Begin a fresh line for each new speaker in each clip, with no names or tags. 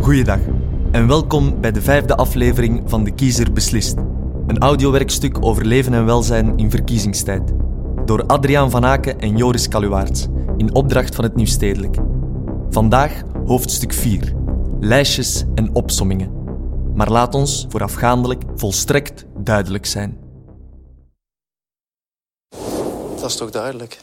Goeiedag en welkom bij de vijfde aflevering van De Kiezer Beslist. Een audiowerkstuk over leven en welzijn in verkiezingstijd. Door Adriaan van Aken en Joris Kaluwaerts in opdracht van het Nieuwstedelijk. Vandaag hoofdstuk 4. Lijstjes en opsommingen. Maar laat ons voorafgaandelijk volstrekt duidelijk zijn.
Dat is toch duidelijk?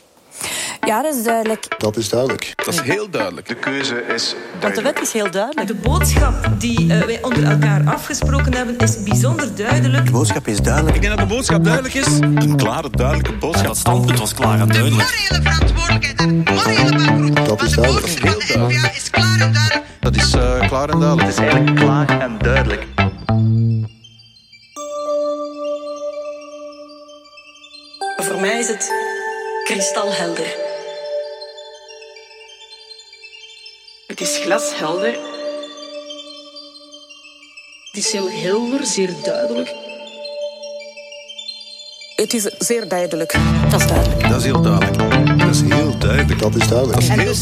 Ja, dat is duidelijk.
Dat is duidelijk.
Dat is heel duidelijk.
De keuze is
Want de
duidelijk.
wet is heel duidelijk.
De boodschap die eh, wij onder elkaar afgesproken hebben is bijzonder duidelijk.
De boodschap is duidelijk.
Ik denk dat de boodschap duidelijk is. Een klare, duidelijke boodschap. Dat standpunt was klaar en
De morele verantwoordelijkheid en de morele bankroet
Dat is
van de
duidelijk.
boodschap van de NVA is klaar en duidelijk.
Dat is klaar en duidelijk.
Voor mij is het kristalhelder. Het is glashelder. Het is heel helder, zeer duidelijk. Het is zeer duidelijk.
Dat is duidelijk.
Dat is heel duidelijk. Dat is heel duidelijk.
Dat is duidelijk.
heel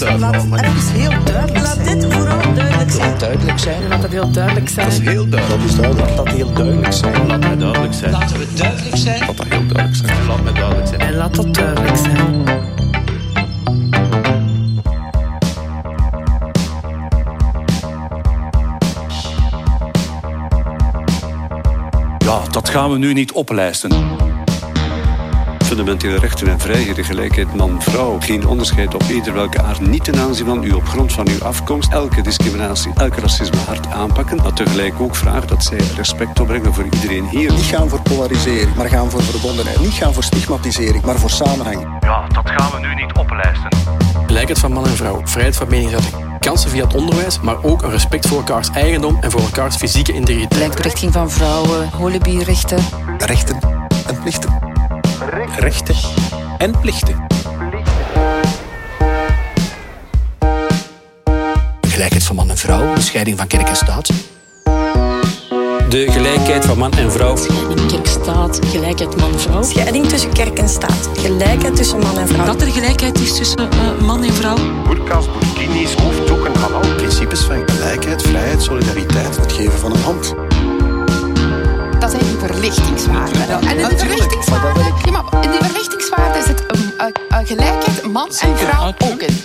duidelijk.
Laat dit vooral duidelijk zijn.
Duidelijk zijn.
Laat dat heel duidelijk zijn.
Dat is heel duidelijk.
Dat is duidelijk.
Dat heel duidelijk zijn.
Laat mij duidelijk zijn. Laten we duidelijk zijn. Laat dat heel duidelijk zijn. Laat mij duidelijk zijn.
En laat dat duidelijk zijn.
Ja, dat gaan we nu niet oplijsten.
Fundamentele rechten en vrijheden, gelijkheid man-vrouw. Geen onderscheid op ieder welke aard. Niet ten aanzien van u op grond van uw afkomst. Elke discriminatie, elk racisme hard aanpakken. Maar tegelijk ook vragen dat zij respect opbrengen voor iedereen hier.
Niet gaan voor polarisering, maar gaan voor verbondenheid. Niet gaan voor stigmatisering, maar voor samenhang.
Ja, dat gaan we nu niet oplijsten.
Gelijkheid van man en vrouw, vrijheid van meningsuiting, kansen via het onderwijs, maar ook een respect voor elkaars eigendom en voor elkaars fysieke integriteit.
Gelijkberechtiging van vrouwen, holebierrechten.
Rechten en plichten.
Rechten en plichten.
Gelijkheid van man en vrouw, scheiding van kerk en staat.
De gelijkheid van man en vrouw.
Scheiding kerk-staat, gelijkheid man-vrouw.
Scheiding tussen kerk en staat. Gelijkheid tussen man en vrouw.
Dat er gelijkheid is tussen eh, man en vrouw.
Burka's, burkinis, hoofddoeken, halal.
Principes van gelijkheid, vrijheid, solidariteit. Het geven van een hand.
Dat zijn die verlichtingswaarden. En in die verlichtingswaarden, ja, maar in die verlichtingswaarden zit een, een, een gelijkheid man en vrouw ook in.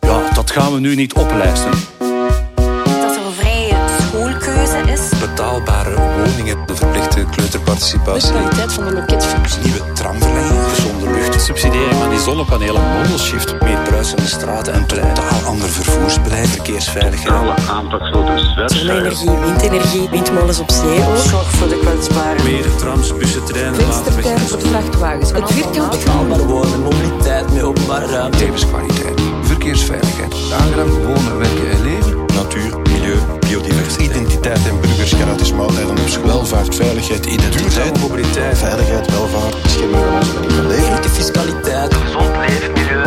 Ja, dat gaan we nu niet oplijsten.
Dat er een vrije schoolkeuze is.
Betaalbare woningen, de verplichte kleuterparticipatie.
Kwaliteit van de loketfunctie.
Nieuwe tramverlenging, gezonde lucht.
Subsidiëring van die zonnepanelen. Modelshift.
Meer bruisende straten en pleinen. Totaal ander vervoersbeleid, verkeersveiligheid.
Zonne-energie, windenergie, windmolens op zee. Zorg voor de kwetsbaren.
Meer trams, bussen, treinen,
Venstertuin, vrachtwagens. Het vierkant
Betaalbare wonen, mobiliteit, meer openbare ruimte.
Levenskwaliteit, verkeersveiligheid. Aangenaam wonen, werken en leven.
Natuur, milieu, biodiversiteit.
Identiteit en burgers, gratis maaltijden op school.
Welvaart, veiligheid, identiteit.
mobiliteit.
Veiligheid, welvaart, schimmeren, onze manier van leven.
De fiscaliteit.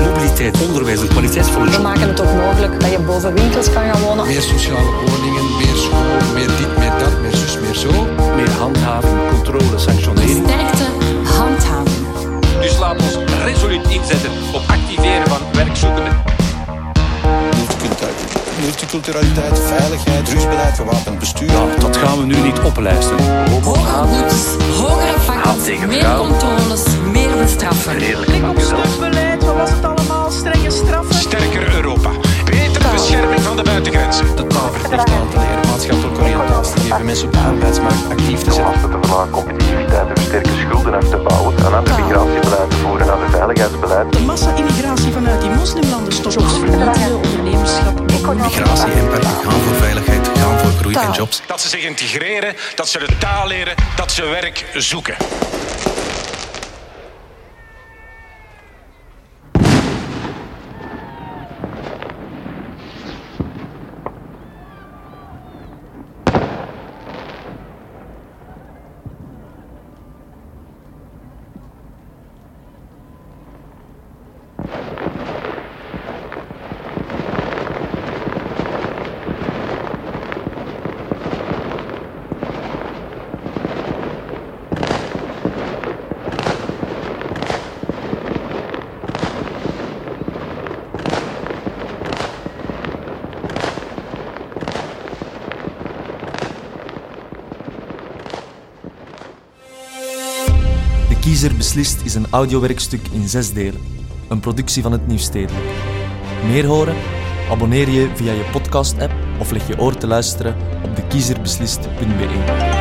Mobiliteit, onderwijs en kwaliteit van
We maken het ook mogelijk dat je boven winkels kan gaan wonen.
Meer sociale woningen, meer school, meer dit, meer dat, meer zus, meer zo.
Meer handhaving, controle, sanctionering.
Sterkte, handhaven.
Dus laat ons resoluut inzetten op activeren van werkzoekenden.
Multiculturaliteit, multiculturaliteit, veiligheid, drugsbeleid, gewapend bestuur.
Ja, dat gaan we nu niet oplijsten.
Hoger boetes, hogere vakken, meer controles, meer bestraffen.
Klik op steunbeleid, wat was het allemaal? Strenge straffen.
Sterker Europa. Betere bescherming van de buitengrenzen.
de taal verplicht aan te leren, maatschappelijk oriëntatie te geven, mensen op de arbeidsmarkt actief te zetten.
Te verlagen competitiviteit en versterken schulden af te bouwen. Een ander migratiebeleid te voeren, een ander veiligheidsbeleid.
De massa-immigratie vanuit die moslimlanden stopt. Jobs vernietigen, ondernemerschap.
Migratie en gaan voor veiligheid, gaan voor groei en jobs.
Dat ze zich integreren, dat ze de taal leren, dat ze werk zoeken.
Kiezer beslist is een audiowerkstuk in zes delen. Een productie van het Nieuwstedelijk. Meer horen? Abonneer je via je podcast-app of leg je oor te luisteren op dekiezerbeslist.be.